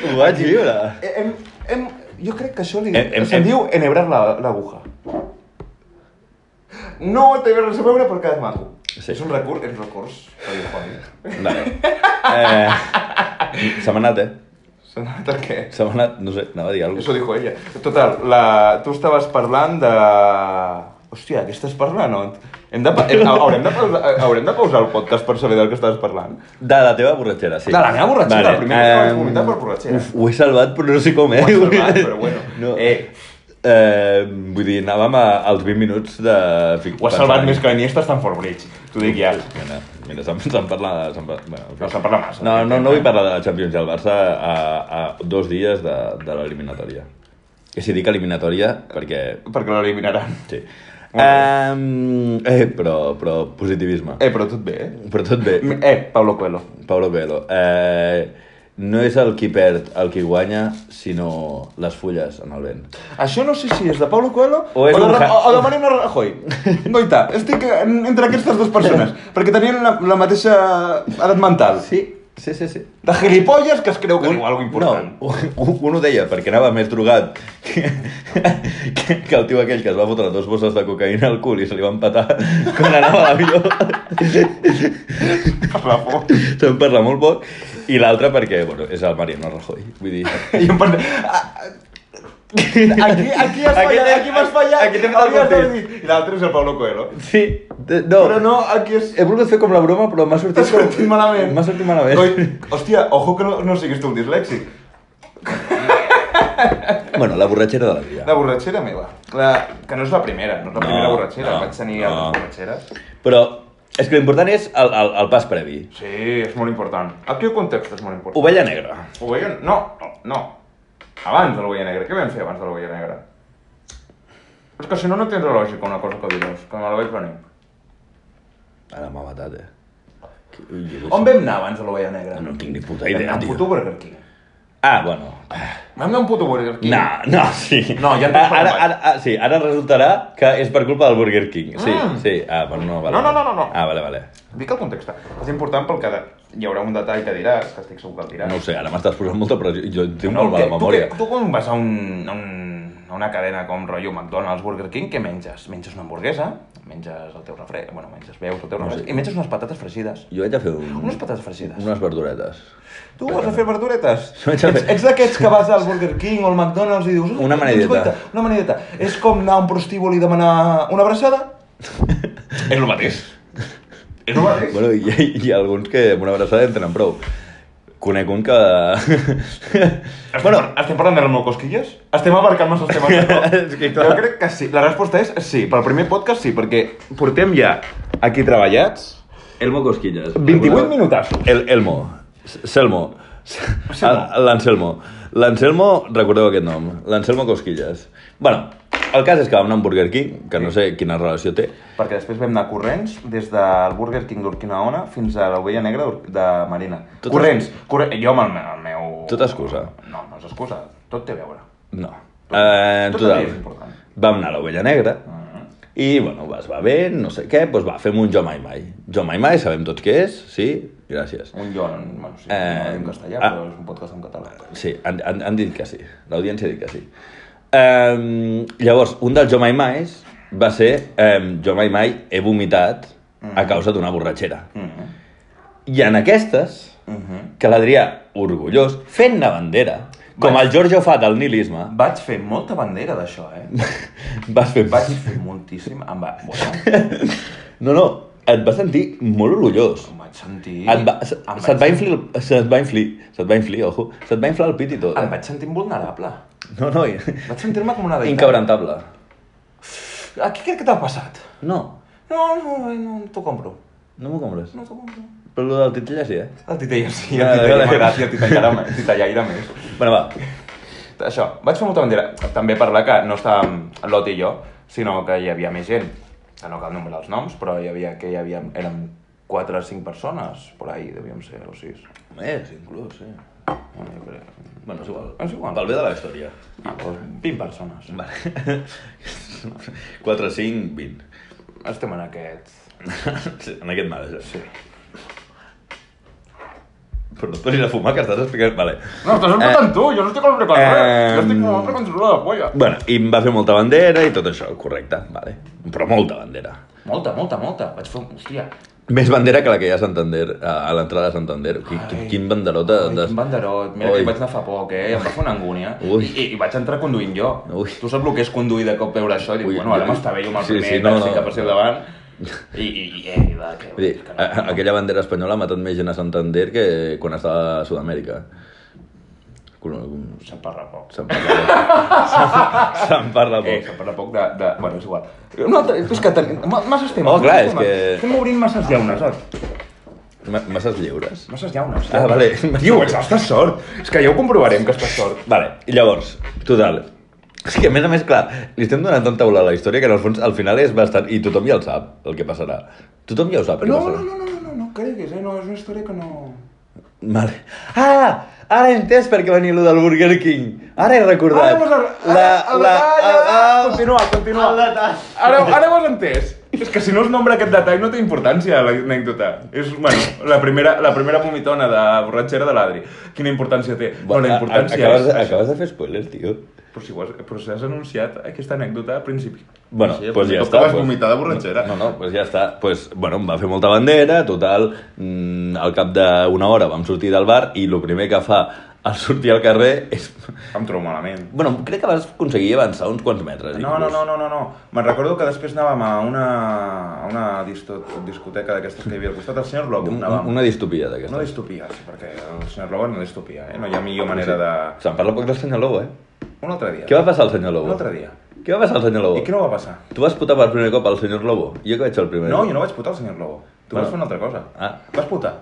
Ho vaig viure. hem, hem, jo crec que això li... Em- em- se'n em- diu enhebrar la- l'aguja. No té res a veure, però ha quedat maco. Sí. És un recurs, és un recurs radiofònic. Vale. Eh, se m'ha anat, eh? S'ha anat a què? Se m'ha anat, no sé, anava a dir alguna Eso dijo ella. Total, la... tu estaves parlant de... Hòstia, què estàs parlant? No? Hem de... pa- Hem... Haurem, de pausa... haurem de pausar el podcast per saber del que estàs parlant. De la teva borratxera, sí. De la meva borratxera, el primer que vaig em, vomitar per borratxera. Uf, ho he salvat, però no sé com, eh? Ho has salvat, però bueno. No. Eh. Eh, vull dir, anàvem a, als 20 minuts de... Fic, Doncs Ho has salvat més que l'Iniesta està en Fort Bridge. T'ho dic ja. Mira, mira se'n se'n parla... Se'n parla, bueno, en fi. No se'n parla massa. no, no, no vull parlar de la Champions i el Barça a, a dos dies de, de l'eliminatòria. Que si dic eliminatòria, perquè... Perquè l'eliminaran. Sí. Molt bé. Um, eh, però, però positivisme. Eh, però tot bé, eh? Però tot bé. M- Eh, Pablo Coelho. Pablo Coelho, eh, no és el qui perd el qui guanya, sinó les fulles en el vent. Això no sé si és de Pablo Coelho O o, és de, un Ra- ha- o, o de Mariano Rajoy. Goita, estic en- entre aquestes dues persones, perquè tenien la, la mateixa edat mental. Sí, sí, sí. sí. De gilipolles que es creu que diu alguna important. No, un, un ho deia perquè anava més drogat que, que, que el tio aquell que es va fotre dos bosses de cocaïna al cul i se li van petar quan anava a l'avió. Per la por. Se'n parla molt poc. I l'altre perquè, bueno, és el Mariano Rajoy. Vull dir... I em pensé... "Ah, Aquí, aquí has Aquí fallat, t'he- aquí m'has fallat. aquí t'he fet el hauries de partit. dir- I l'altre és el Pablo Coelho. Sí, de- no. Però no, aquí és... He volgut fer com la broma, però m'ha sortit, T'ha sortit malament. M'ha sortit malament. Coi, hòstia, ojo que no, no siguis tu un dislèxic. Bueno, la borratxera de la vida. La borratxera meva. La... Que no és la primera, no és la No, primera borratxera. no, Vaig tenir no. altres borratxeres. Però és que l'important és el, el, el pas previ. Sí, és molt important. Aquí el context és molt important. Ovella negra. Ho veien? No, no, no. Abans de l'Ovella Negra. Què vam fer abans de l'Ovella Negra? És que si no, no tindrà lògica una cosa que dius, que me la vaig venir. Ara m'ha matat, eh. Jo- On vam anar abans de l'Ovella Negra? No en tinc ni puta Vam anar idea, a un puto tio. Burger King. Ah, bueno. Vam anar a un puto Burger King. No, no, sí. No, ja en tinc ara, prou, ara, ara, sí, ara resultarà que és per culpa del Burger King. Sí, Mm. sí. Ah, bueno, no, vale. No, no, vale. no, no, no. Ah, vale, vale. Dic el context. És important pel que de- hi haurà un detall que diràs, que estic segur que el diràs. No ho sé, ara m'estàs posant molta pressió. Jo tinc No, molt mala que- tu memòria. que- Tu, quan vas a, un, a, un, a una cadena com rotllo McDonald's, Burger King, què menges? Menges una hamburguesa, menges el teu refresc, bueno, menges, veus el teu refresc, sé. i menges unes patates fregides. Jo vaig a fer un... Unes patates fregides. Unes verduretes. Tu vas a fer verduretes? Jo vaig a Ets, fer- ets d'aquests que vas al Burger King o al McDonald's i dius... "Ah, Una amanideta." doncs, guaita, Una amanideta. És com anar a un prostíbul i demanar una abraçada? és el mateix. És el mateix. Bueno, hi, ha- hi ha alguns que amb una abraçada en tenen prou. Conec un que... Estem, bueno, estem parlant de les cosquilles? Estem abarcant massa els temes. no? És que clar. jo crec que sí. La resposta és sí. Pel primer podcast sí, perquè portem ja aquí treballats Elmo Cosquillas. 28 minutassos. El, Elmo. S- Selmo. S- Selmo. el- L'Anselmo. L'Anselmo, recordeu aquest nom. L'Anselmo Cosquillas. bueno, el cas és que vam anar a un Burger King, que no sé quina relació té. Perquè després vam anar corrents des del Burger King d'Urquinaona fins a l'Ovella Negra d'Ur- de Marina. Tot corrents. corre- Jo amb el, me- el meu... Tot excusa. No, no és excusa. Tot té a veure. No. Eh, Tot total, també és important. Mm-hmm. vam anar a l'Ovella Negra, i, bueno, es va bé, no sé què, doncs va, fem un Jo Mai Mai. Jo Mai Mai, sabem tots què és, sí? Gràcies. Un John... Bueno, sí, Eh, no en castellà, ah. però és un podcast en català. Sí, han, han, han dit que sí. L'audiència ha dit que sí. Um, llavors, un dels Jo Mai Mai va ser um, Jo Mai Mai he vomitat a causa d'una borratxera. Mhm. I en aquestes, Mhm. que l'Adrià, orgullós, fent la bandera, com Vaig- el Giorgio fa del nihilisme, Vaig fer molta bandera d'això, eh? vas fer... Vaig fer moltíssim... Em va... Bueno, No, no, et vas sentir molt orgullós. em vaig sentir... Et va, se, em se't va vaig- inflir, el- se't va inflir, se't va inflir, ojo, se't va inflar el pit i tot. Em Eh? vaig sentir vulnerable. No, no, Vaig sentir-me com una deïtat. incabrantable. A què crec que t'ha passat? No, No, no, no, no t'ho compro. no m'ho compres. No t'ho compro. Però el del titella sí, eh? El titella sí, Ah, el titella vale. m'agrada i el titellaire més. Titellaire més. Bueno, va. Això, vaig fer molta bandera. També parlar que no estàvem l'Ot i jo, sinó que hi havia més gent. Que no cal nombrar els noms, però hi havia, que hi havia, érem 4 o 5 persones, por ahí devíem ser, o 6. Més, inclús, Eh, sí. Bueno, jo crec. Bueno, és igual. És igual. Pel bé de la història. Ah, doncs 20 persones. Vale. 4, 5, 20. Estem en aquest... Sí, en aquest marge. Sí. Però no et posis a fumar, que estàs explicant... Vale. No, estàs empatant eh, tu, jo no estic al preparat. Eh, jo estic Em, molt precontrolat de polla. Bueno, i em va fer molta bandera i tot això, correcte, vale. Però molta bandera. Molta, molta, molta. Vaig fer un... Hòstia. Més bandera que la que hi ha a Santander, a a l'entrada de Santander. Quin, quin, Ai. quin banderot de... Ai, de... quin banderot. Mira, que Ui. hi vaig anar fa poc, eh? Em va fer una angúnia. Ui. I, I, vaig entrar conduint jo. Ui. Tu saps el que és conduir de cop veure això? I dic, Ui, bueno, ara ui. m'està bé jo amb el Sí, primer sí, no, taxi no. que passi al davant. I, i, i ei, va, que... Vull dir, que a, a- aquella bandera espanyola ha matat més gent a Santander que quan estava a Sud-amèrica. Col- Se'n parla poc. Se'n parla poc. Se'n- Se'n parla Eh, poc. se'n parla poc de, de... Bueno, és igual. Un altre... És que tenim... ma- Masses temes. Oh, clar, masses és temes. que- Estem obrint masses llaunes, oi? Eh. Ma- Masses lliures. Masses llaunes. Ah, vale. Tio, ens estàs sort. És que ja ho comprovarem, que estàs sort. Vale, i llavors, total. És que, a més a més, clar, li estem donant tanta bola a la història que, en el fons, al final és bastant... I tothom ja el sap, el que passarà. Tothom ja ho sap, el No, que no, passarà. no, no, no, no, no creguis, eh? No, és una història que no... Vale. Ah! Ara he entès per què venia allò del Burger King. Ara he recordat. Ara, ara, ara, la, ara, la- ara, continua, continua. el detall. Ara, ara ho has entès? És que si no es nombra aquest detall no té importància l'anècdota. És, bueno, la primera, la primera vomitona de borratxera de l'Adri. Quina importància té? No, Bueno, la a- a- importància acabes, de- és... això. acabes de fer spoilers, tio. Però si, ho has, però si has anunciat aquesta anècdota al principi. Bueno, Sí, pues ja com està. Que vas pues- vomitar de borratxera. No, no, pues ja està. Pues, bueno, em va fer molta bandera, total, mm, al cap d'una hora vam sortir del bar i el primer que fa al sortir al carrer és... Em trobo malament. Bueno, crec que vas aconseguir avançar uns quants metres. No, no, no, no, no, no. Me'n recordo que després anàvem a una, a una disto, discoteca d'aquestes que hi havia al costat, el senyor Bloc, Una, anàvem. una distopia No d'aquesta. distopia, sí, perquè el senyor Bloc no distopia, eh? No hi ha millor manera de... Se'n parla poc del senyor Lobo, eh? Un altre dia. Què va passar al senyor Lobo? Un altre dia. Què va passar al senyor Lobo? I què no va passar? Tu vas putar per primer cop al senyor Lobo? Jo que vaig al primer. No, jo no vaig putar al senyor Lobo. Tu Bueno. vas fer una altra cosa. Ah. Vas putar,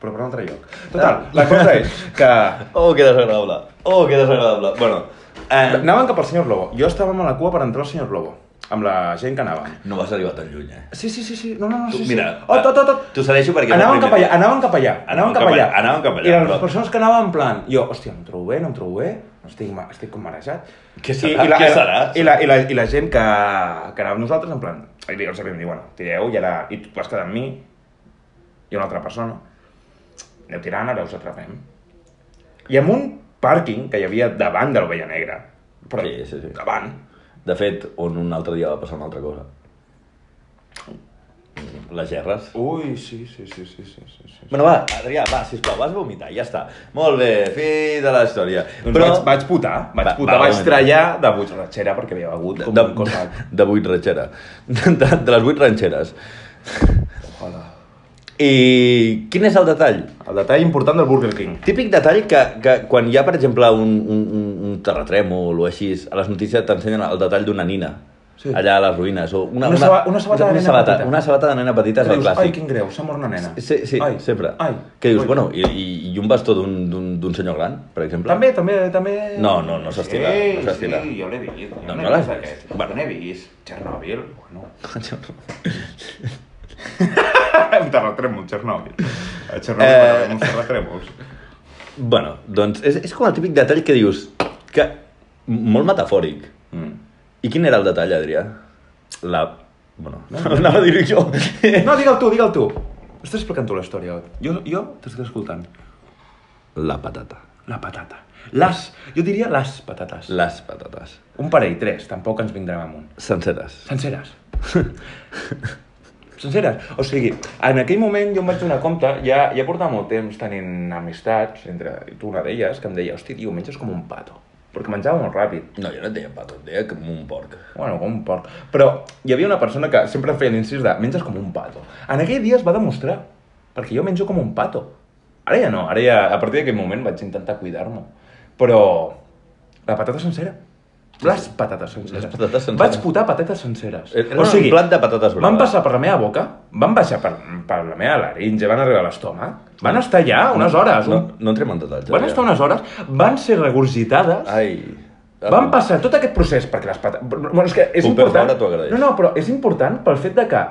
però per un altre lloc. Total, la cosa és que... Oh, que desagradable. Oh, que desagradable. Bueno, eh, Anaven cap al senyor Lobo. Jo estava a la cua per entrar al senyor Lobo. Amb la gent que anava. no vas arribar tan lluny, eh? Sí, sí, sí, sí. No, no, no, Tu, sí, mira, sí. Oh, tot, tot, tot. t'ho cedeixo perquè és el Anaven primer. cap allà, anaven cap allà, anaven cap allà. Anaven cap allà, I les però- persones que anaven en plan, jo, hòstia, no em trobo bé, no em trobo bé, estic, ma- estic com marejat. Què serà? Què serà? I la, i la, i la gent que, que anava amb nosaltres, en plan, i li- els havíem dit, bueno, tireu, i ara, i tu vas quedar amb mi, i una altra persona. Aneu tirant, ara us atrapem. I en un pàrquing que hi havia davant de l'Ovella Negra, però Sí, sí, sí. davant, De fet, on un altre dia va passar una altra cosa. Mm, Les gerres. Ui, sí, sí, sí, sí, sí, sí, sí. Bueno, va, Adrià, va, sisplau, vas vomitar, ja està. Molt bé, fi de la història. Doncs Però... vaig, vaig putar, vaig Va- putar, va, vaig un trallar de butxatxera perquè havia begut com de, un cosa. de, de vuit ranxera. De, de, de les vuit ranxeres. Ojalà. I quin és el detall? El detall important del Burger King. Típic detall que, que quan hi ha, per exemple, un, un, un- un terratrèmol o així, a les notícies t'ensenyen el detall d'una nina. Sí. Allà a les ruïnes. O una, Una saba- una sabata de una nena sabata, petita. Una sabata de nena petita és Que el dius, clàssic. ai, quin greu, s'ha mort una nena. Sí, sí, ai, sempre. Ai, que dius, ai. bueno, i, i, i un bastó d'un- d'un d'un senyor gran, per exemple? També, també, també... No, no, no s'estila, Sí, no s'estila. Sí, jo l'he vist. No, Jo no n'he l'has vist, vist. aquest. Bueno. Bueno. N'he vist. Chernobyl, bueno. un terratrèmol, Chernobyl. A Chernobyl eh... Eh. van haver uns terratrèmols. Bueno, doncs és, és com el típic detall que dius, que molt metafòric. Mm. I quin era el detall, Adrià? La... Bueno, anava a dir jo. No, digue'l tu, digue'l tu. Estàs explicant tu la història, Ot. Jo, jo t'estic escoltant. La patata. La patata. Les, jo diria les patates. Les patates. Un parell, tres, tampoc ens vindrem amunt. Senceres. Senceres. Senceres. O sigui, en aquell moment jo em vaig donar compte, ja, ja portava molt temps tenint amistats, entre tu una d'elles, que em deia, hosti, tio, menges com un pato. Perquè menjava molt ràpid. No, jo no et deia pato, et deia com un porc. Bueno, com un porc. Però hi havia una persona que sempre feia l'incís de menges com un pato. En aquell dia es va demostrar, perquè jo menjo com un pato. Ara ja no, ara ja, a partir d'aquell moment vaig intentar cuidar-me. Però la patata sencera. Les patates senceres. Les patates senceres. Vaig putar patates senceres. Era Eh, un plat de patates braves. van passar per la meva boca, van baixar per, per la meva laringe, van arribar a l'estómac, van estar allà unes hores, No, un- no entrem en detalls. van estar unes hores, van ser regurgitades, Ai. Ah, Van passar tot aquest procés perquè les patates... Bueno, és que és Pompeu important... Fabra t'ho agraeix. No, no, però és important pel fet de que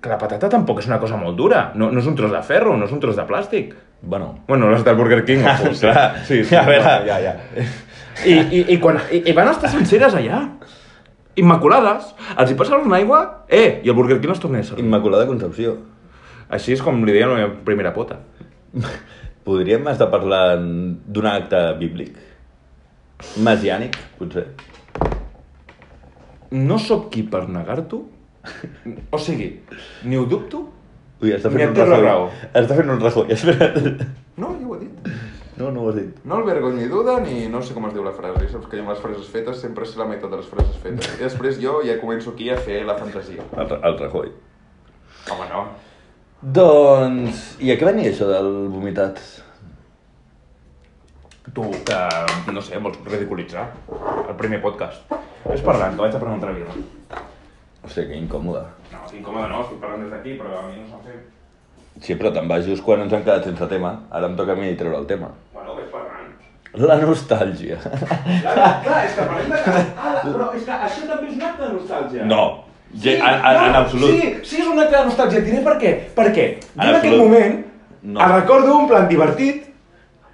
que la patata tampoc és una cosa molt dura. No, no és un tros de ferro, no és un tros de plàstic. Bueno, Bueno, les del Burger King, ah, sí. clar. Sí, sí, A veure. ja, ja. I, i, i, quan, i, i van estar senceres allà. Immaculades. Els hi passaven una aigua, eh, i el Burger King les tornés a servir. Immaculada Concepció. Així és com li deia la meva primera pota. Podríem estar parlant d'un acte bíblic? Mesiànic, potser? No sóc qui per negar-t'ho, o sigui, ni ho dubto, Ui, està fent Ni un et té la Rajoy. raó. Està fent un Rajoy, espera't. No, jo ho he dit. No, no ho has dit. No el vergony ni duda ni no sé com es diu la frase. Saps que jo amb les frases fetes sempre sé la meitat de les frases fetes. I després jo ja començo aquí a fer la fantasia. El, Ra- el Rajoy. Home, no. Doncs... I a què venia això del vomitat? tu, que, no sé, vols ridiculitzar el primer podcast. Ves parlant, que vaig a prendre una altra birra. Hòstia, que incòmode. No, estic incòmode, no, estic parlant des d'aquí, però a mi no s'ha fet. Sí, però te'n vas just quan ens hem quedat sense tema. Ara em toca a mi treure el tema. Bueno, ves parlant. La nostàlgia. Clar, clar, és que parlem de... Ah, però és que això també és un acte de nostàlgia. No. Sí, Sí, en, en, en no, absolut. Sí, sí, és un acte de nostàlgia. Et diré per què. Perquè jo en, aquell absolut. moment No. el recordo un plan divertit,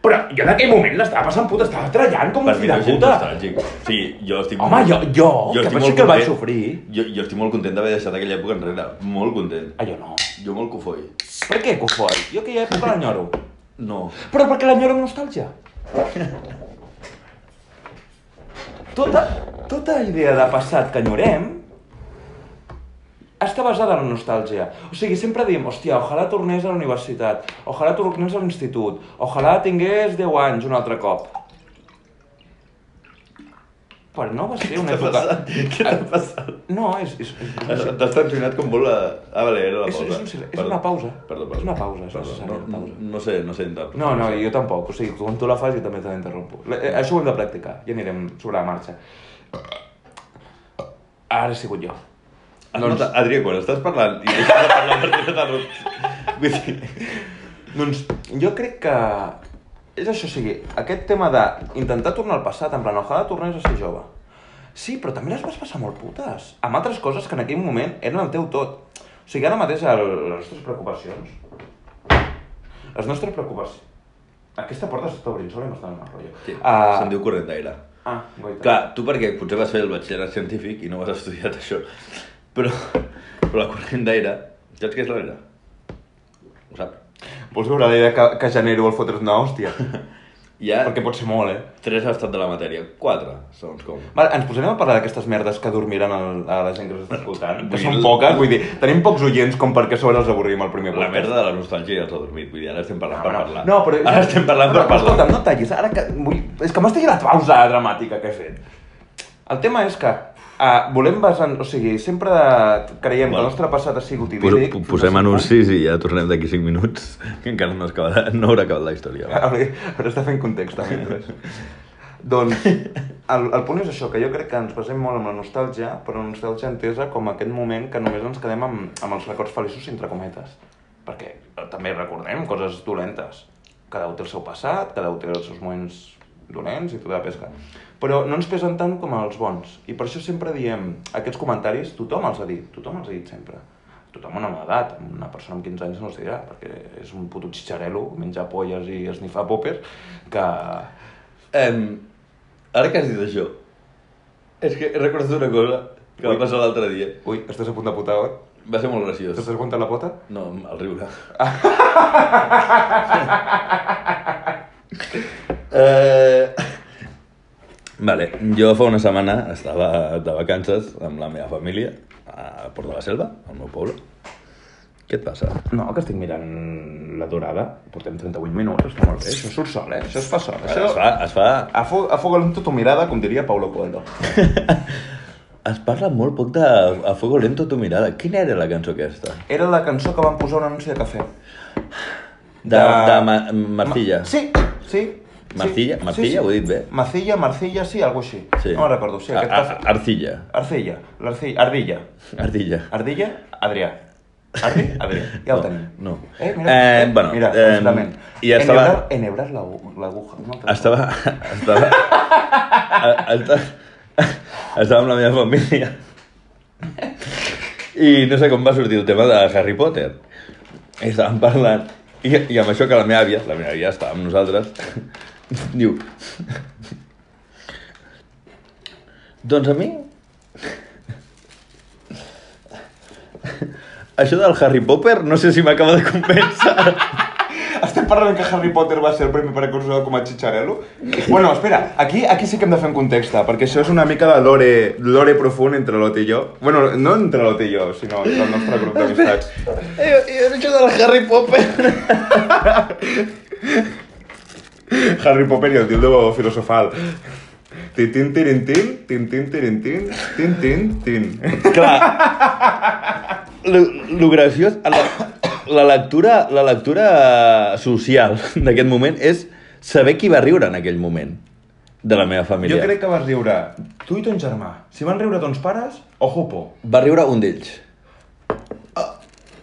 però jo en aquell moment l'estava passant puta, estava trallant com Per un mi fill de no és gens puta. nostàlgic. Sí, jo estic... Home, jo, jo, jo que estic penso molt que el vaig content. sofrir. Jo, jo estic molt content d'haver deixat aquella època enrere. Molt content. Ah, jo no. Jo molt cofoll. Per què, Cofoi? Jo aquella època l'enyoro. No. Però perquè l'enyoro amb nostàlgia. Tota, tota idea de passat que enyorem està basada en la nostàlgia. O sigui, sempre diem, hòstia, ojalà tornés a la universitat, ojalà tornés a l'institut, ojalà tingués 10 anys un altre cop. Però no va ser una època... Què t'ha passat? No, és, és, és, és, T'has tensionat com vol la... Ah, vale, era la És- pausa. és un sil- és una pausa. Perdó, perdó. És una pausa, és Perdó. necessària No, una pausa. no, no sé, no sé interpretar. No, no, jo tampoc. O sigui, quan tu la fas jo també te l'interrompo. L- eh, Això ho hem de practicar. Ja anirem sobre la marxa. Ara he sigut jo. Ah, no, Adrià, quan estàs parlant i deixes de parlar perquè no t'ha Vull dir... Doncs jo crec que és això, o sigui, aquest tema d'intentar tornar al passat, en plan, ojalà tornés a ser jove. Sí, però també les vas passar molt putes, amb altres coses que en aquell moment eren el teu tot. O sigui, ara mateix el, les nostres preocupacions... Les nostres preocupacions... Aquesta porta s'està obrint sobre i m'està donant mal rotllo. Sí, Ah, Se'n diu corrent d'aire. Ah, guaita. Clar, tu perquè potser vas fer el batxillerat científic i no has estudiat això, però, però la corrent d'aire, saps què és l'aire? Ho saps? Vols veure la idea que, que genero al fotre's una hòstia? Hi ha Perquè pot ser molt, eh? 3 ha estat de la matèria, 4, segons com. Vale, ens posarem a parlar d'aquestes merdes que dormiran el, a la gent que ens està escoltant, que Vull són dir- poques, vull dir, tenim pocs oients com perquè a sobre els avorrim el primer La merda de la nostàlgia ja els ha dormit, vull dir, ara estem parlant per parlar. No, però... Ara estem parlant però, per parlar. Escolta'm, no tallis, ara que... Vull... És que m'has tallat la pausa dramàtica que he fet. El tema és que uh, volem basar... O sigui, sempre creiem que Bueno. el nostre passat ha sigut Pos- idíl·lic. po- Posem anuncis i ja tornem d'aquí 5 minuts, que encara no, has acabat, no haurà acabat la història. Hauré, hauré estar fent context, també. Mentre. doncs, el, el punt és això, que jo crec que ens basem molt en la nostàlgia, però la nostàlgia entesa com aquest moment que només ens quedem amb, amb els records feliços entre cometes. Perquè eh, també recordem coses dolentes. Cada un té el seu passat, cada un té els seus moments dolents i tota la pesca. Però no ens pesen tant com els bons. I per això sempre diem, aquests comentaris, tothom els ha dit, tothom els ha dit sempre. Tothom amb una edat, una persona amb 15 anys no els dirà, perquè és un puto xitxarelo, menja polles i esnifar poppers, que... Em, ara que has dit això, és que he recordat una cosa que Ui. va passar l'altre dia. Ui, estàs a punt de putar, oi? Va ser molt graciós. T'estàs aguantant la pota? No, el riure. eh... Vale, jo fa una setmana estava de vacances amb la meva família a Port de la Selva, al meu poble. Què et passa? No, que estic mirant la durada. Portem 38 minuts, està molt bé. Això surt sol, eh? Això es fa sol. Això... Es fa, es fa Afoga amb tu mirada, com diria Paulo Coelho. Es parla molt poc de A Fuego Lento tu mirada. Quina era la cançó aquesta? Era la cançó que van posar a un anunci de cafè. De, de... De- Ma Martilla. Ma- Sí, sí. Martilla? sí. Martilla? Ho he dit bé? Marcilla, Marcilla, sí, algo així. Sí. No me'n recordo, sí, aquest A- a- cafè. Arcilla. Arcilla, l'arcilla, ardilla. Ardilla. Ardilla, Adrià. Ardi, Adrià. Ja ho No, tenim. no. Eh, mira, Eh, bueno, mira, eh, justament. i estava- Enhebrar- Enhebrar l'agu- l'aguja. No, Estava... Estava... a- estava... Estava amb la meva família. I no sé com va sortir el tema de Harry Potter. I estàvem parlant... I, I amb això que la meva àvia, la meva àvia estava amb nosaltres, diu... Doncs a mi... Això del Harry Potter no sé si m'acaba de convèncer. Estem parlant que Harry Potter va ser el primer precursor com a Chicharello? Bueno, espera, aquí, aquí sí que hem de fer un context, perquè això és una mica de lore, lore profund entre l'Ot i jo. Bueno, no entre l'Ot i jo, sinó entre el nostre grup d'amistats. Jo, jo he hecho del Harry Potter. Harry Potter i el dildo filosofal. Tin, tin, tin, tin, tin, tin, tin, tin, tin, tin, tin. Clar. Lo, lo graciós... La, la, lectura, la lectura social d'aquest moment és saber qui va riure en aquell moment de la meva família. Jo crec que vas riure, tu i ton germà. Si van riure tons pares, ojo por. Va riure un d'ells.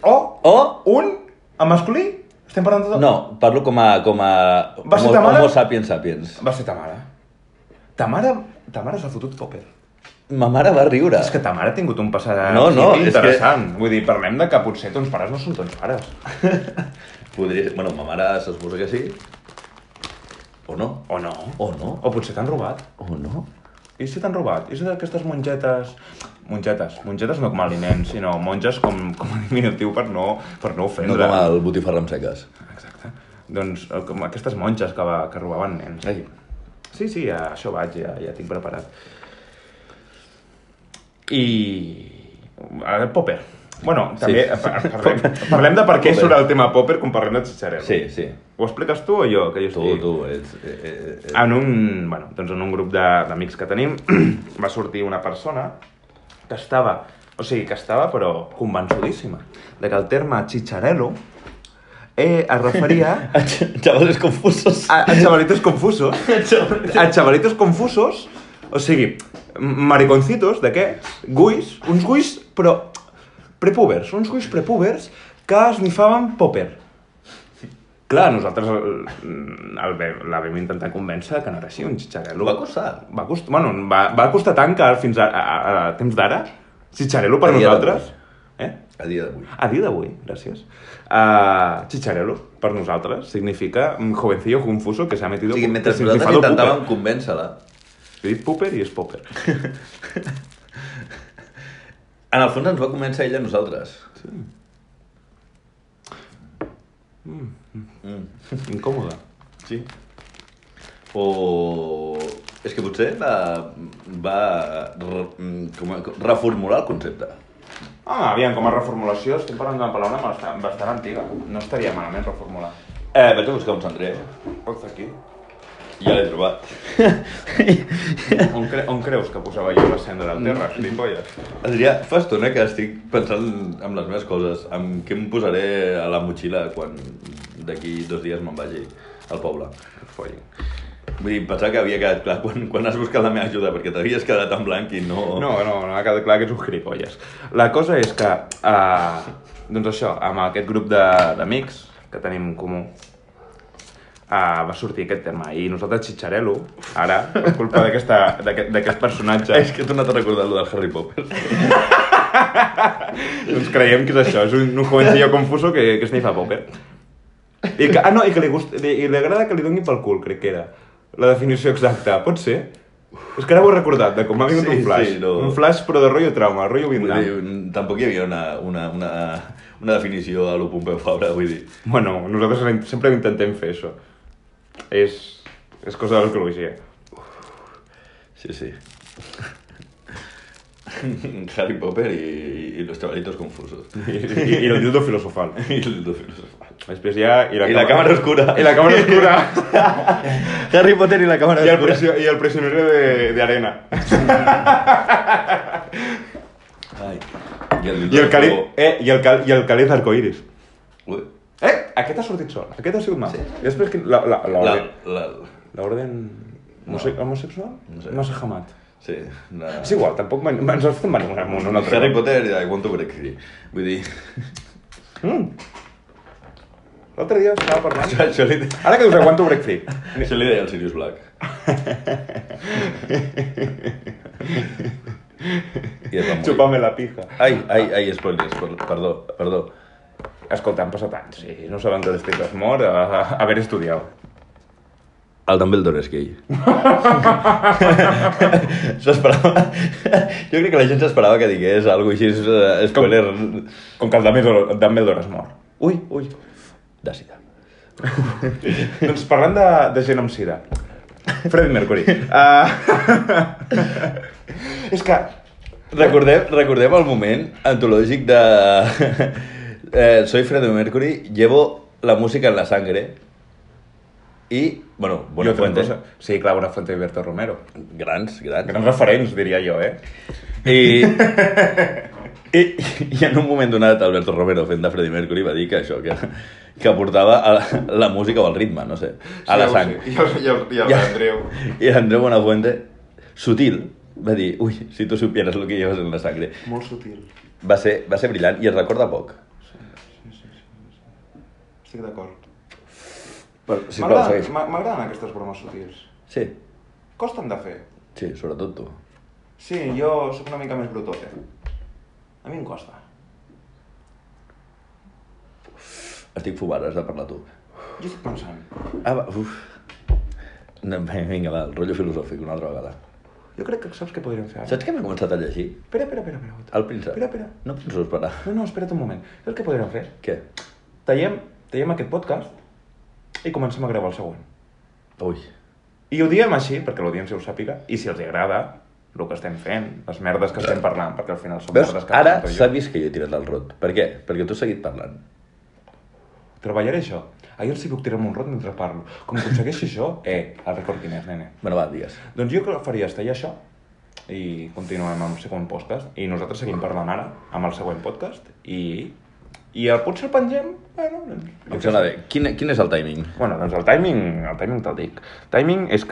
O, O... un, en masculí, estem parlant de... No, parlo com a... Com a Va ser homo, ta mare? homo sapiens sapiens. Va ser ta mare. Ta mare, ta mare s'ha fotut Popper. Ma mare va riure. És que ta mare ha tingut un passat No, no, hippie és que- interessant. Vull dir, parlem de que potser tons pares no són tons pares. Podria... Bueno, ma mare s'esborra que sí. O no. O no. O no. O potser t'han robat. O no. I si t'han robat? I si d'aquestes mongetes... Mongetes. Mongetes no com a aliment, sinó monges com, com a diminutiu per no, per no No ofendre. com el botifarra amb seques. Exacte. Doncs eh, com aquestes monges que, va, que robaven nens. Ai. Sí, sí, a això vaig, ja, ja tinc preparat. I... A veure, Popper. Bueno, Sí. també eh, par- parlem, parlem de per què Popper. surt el tema Popper quan parlem de Chicharello. Sí, sí. Ho expliques tu o jo? Que jo Tu, estic... tu, ets... Eh, eh, eh. En un, bueno, doncs en un grup de- d'amics que tenim va sortir una persona que estava, o sigui, que estava però convençudíssima de que el terme chicharello eh, es referia A xa- Xavales confusos. a, a chavalitos confusos. A chavalitos confusos, o sigui, m- mariconcitos d'aquests, guis, uns guis, però prepúbers, uns guis prepúbers que esnifaven popper. Clar, nosaltres el, el, ve- la vam intentar convèncer que no era així, un xitxarel·lo. Va costar. Va costar, bueno, va, va costar tant que fins a, a, a, a temps d'ara, xitxarel·lo per A dia nosaltres... Eh? A dia d'avui. A dia d'avui, gràcies. Uh, chicharelo, per nosaltres, significa un jovencillo confuso que s'ha metido... O sigui, mentre que s'ha nosaltres infiltrado intentàvem Popper. convèncer-la, Jo he dit Popper i és Popper. en el fons ens va convèncer ella a nosaltres. Mm. Incòmode. Sí. O... És que potser va, va re, mm, com a, reformular el concepte. Ah, aviam, com a reformulació estem parlant d'una paraula bastant, bastant antiga. No estaria malament reformular. Eh, vaig a buscar un cendrer. Pots aquí? Ja l'he trobat. On, cre on creus que posava jo la cendra al terra? Limpolles. Adrià, fa estona que estic pensant en les meves coses, en què em posaré a la motxilla quan d'aquí dos dies me'n vagi al poble. Foll. Vull dir, pensar que havia quedat clar quan, quan has buscat la meva ajuda, perquè t'havies quedat en blanc i no... No, no, no ha quedat clar que ets un gilipolles. La cosa és que, uh, doncs això, amb aquest grup de- d'amics que tenim en comú, uh, va sortir aquest tema. I nosaltres, Chicharello, ara, per culpa d'aquesta- d'aquest d'aquest personatge, És que he tornat a recordar allò del Harry Potter. doncs creiem que és això, és un, un jovencillo confuso que, que es nifa Popper. I que, ah, no, i que li, gust, li, i li agrada que li doni pel cul, crec que era. La definició exacta, pot ser? És que ara ho he recordat, de com m'ha vingut Sí, un flash. sí, no. Un flash, però de rotllo trauma, rotllo Vull Vindam. dir, mm, tampoc hi havia una, una, una, una definició a lo Pompeu Fabra, vull dir... Bueno, nosaltres sempre intentem fer això. És, és cosa de l'arqueologia. Sí, sí. Harry Potter i, i los chavalitos confusos. I, i, i el dildo filosofal. I el filosofal. Després ja... I I la càmera oscura. I la càmera oscura. Harry Potter i la càmera I el, presio, i el prisionero de, de arena. Ai. I el, I el cali... Eh, i el, cal, i el caliz arcoiris. Ui. Eh, aquest ha sortit sol. Aquest ha sigut mal. Sí. Sí. I després que... La, la, la, La, orden- la, la orden... Homose homosexual? No No sé. sé. Massa jamat. sí, la... És igual, tampoc men- ens els fem venir un un altre. Harry cop. Potter i I want to break free. Vull dir, Mm. L'altre dia estava parlant... això, això, li, Ara que us aguanto break free. això li deia el Sirius Black. I es va morir. Chupame la pija. Ai, ai, ai, spoilers, per- perdó, perdó. Escolta, han passat anys i no saben que després has mort a, a haver estudiat. El Dumbledore és gay. S'esperava... Jo crec que la gent s'esperava que digués alguna cosa així, eh, spoiler... Com que el Dumbledore, el Dumbledore es mor. Ui, ui. De sida. doncs parlant de, de gent amb sida. Freddie Mercury. Uh... és que... Recordem, recordem el moment antològic de... Eh, soy Freddie Mercury, llevo la música en la sangre i, bueno, Bona Buena fuente. Fuente. Cosa... Sí, clar, Bona Fuente i Berto Romero. Grans, grans. Grans referents, diria jo, eh? I, i, I en un moment donat, Alberto Romero, fent de Freddie Mercury, va dir que això, que, que portava a la, la música o el ritme, no sé, a la sang. Sí, Sí, ja ho sé. I el, i el, i el Andreu. I Andreu Buenafuente, sutil, va dir, ui, si tu supieras lo que llevas en la sangre. Molt sutil. Va ser, va ser brillant i es recorda poc. Estic d'acord. Però, si plau, segueix. M'agraden m'agraden aquestes bromes sutils. Sí, Costen de fer. sí, sobretot tu. Sí, jo sóc una mica més brutote. A mi em costa. Estic fumant, has de parlar tu. Jo estic pensant. Ah, va, uf. No, vinga, va, el rotllo filosòfic una altra vegada. Jo crec que saps què podríem fer ara? Saps que m'he començat a llegir? Espera, espera, espera. espera. El príncep. Espera, espera. No penso esperar. No, no, espera't un moment. Saps què podríem fer? Què? Tallem, tallem aquest podcast i comencem a gravar el següent. Ui. I ho diem així, perquè l'audiència ho sàpiga, i si els hi agrada el que estem fent, les merdes que estem parlant, perquè al final són Veus? merdes que Ara presento jo. s'ha vist que jo he tirat el rot. Per què? Perquè tu has seguit parlant. Treballaré això. Ahir els hi puc tirar un rot mentre parlo. Com aconsegueixi això, eh, el record quin és, nene. Bueno, va, digues. Doncs jo crec que faria estar això i continuem amb el següent podcast i nosaltres seguim parlant ara amb el següent podcast i, i el potser el pengem bueno, Em sembla bé. Quin, quin és el timing? bueno, doncs el timing, el timing te'l dic. Timing és que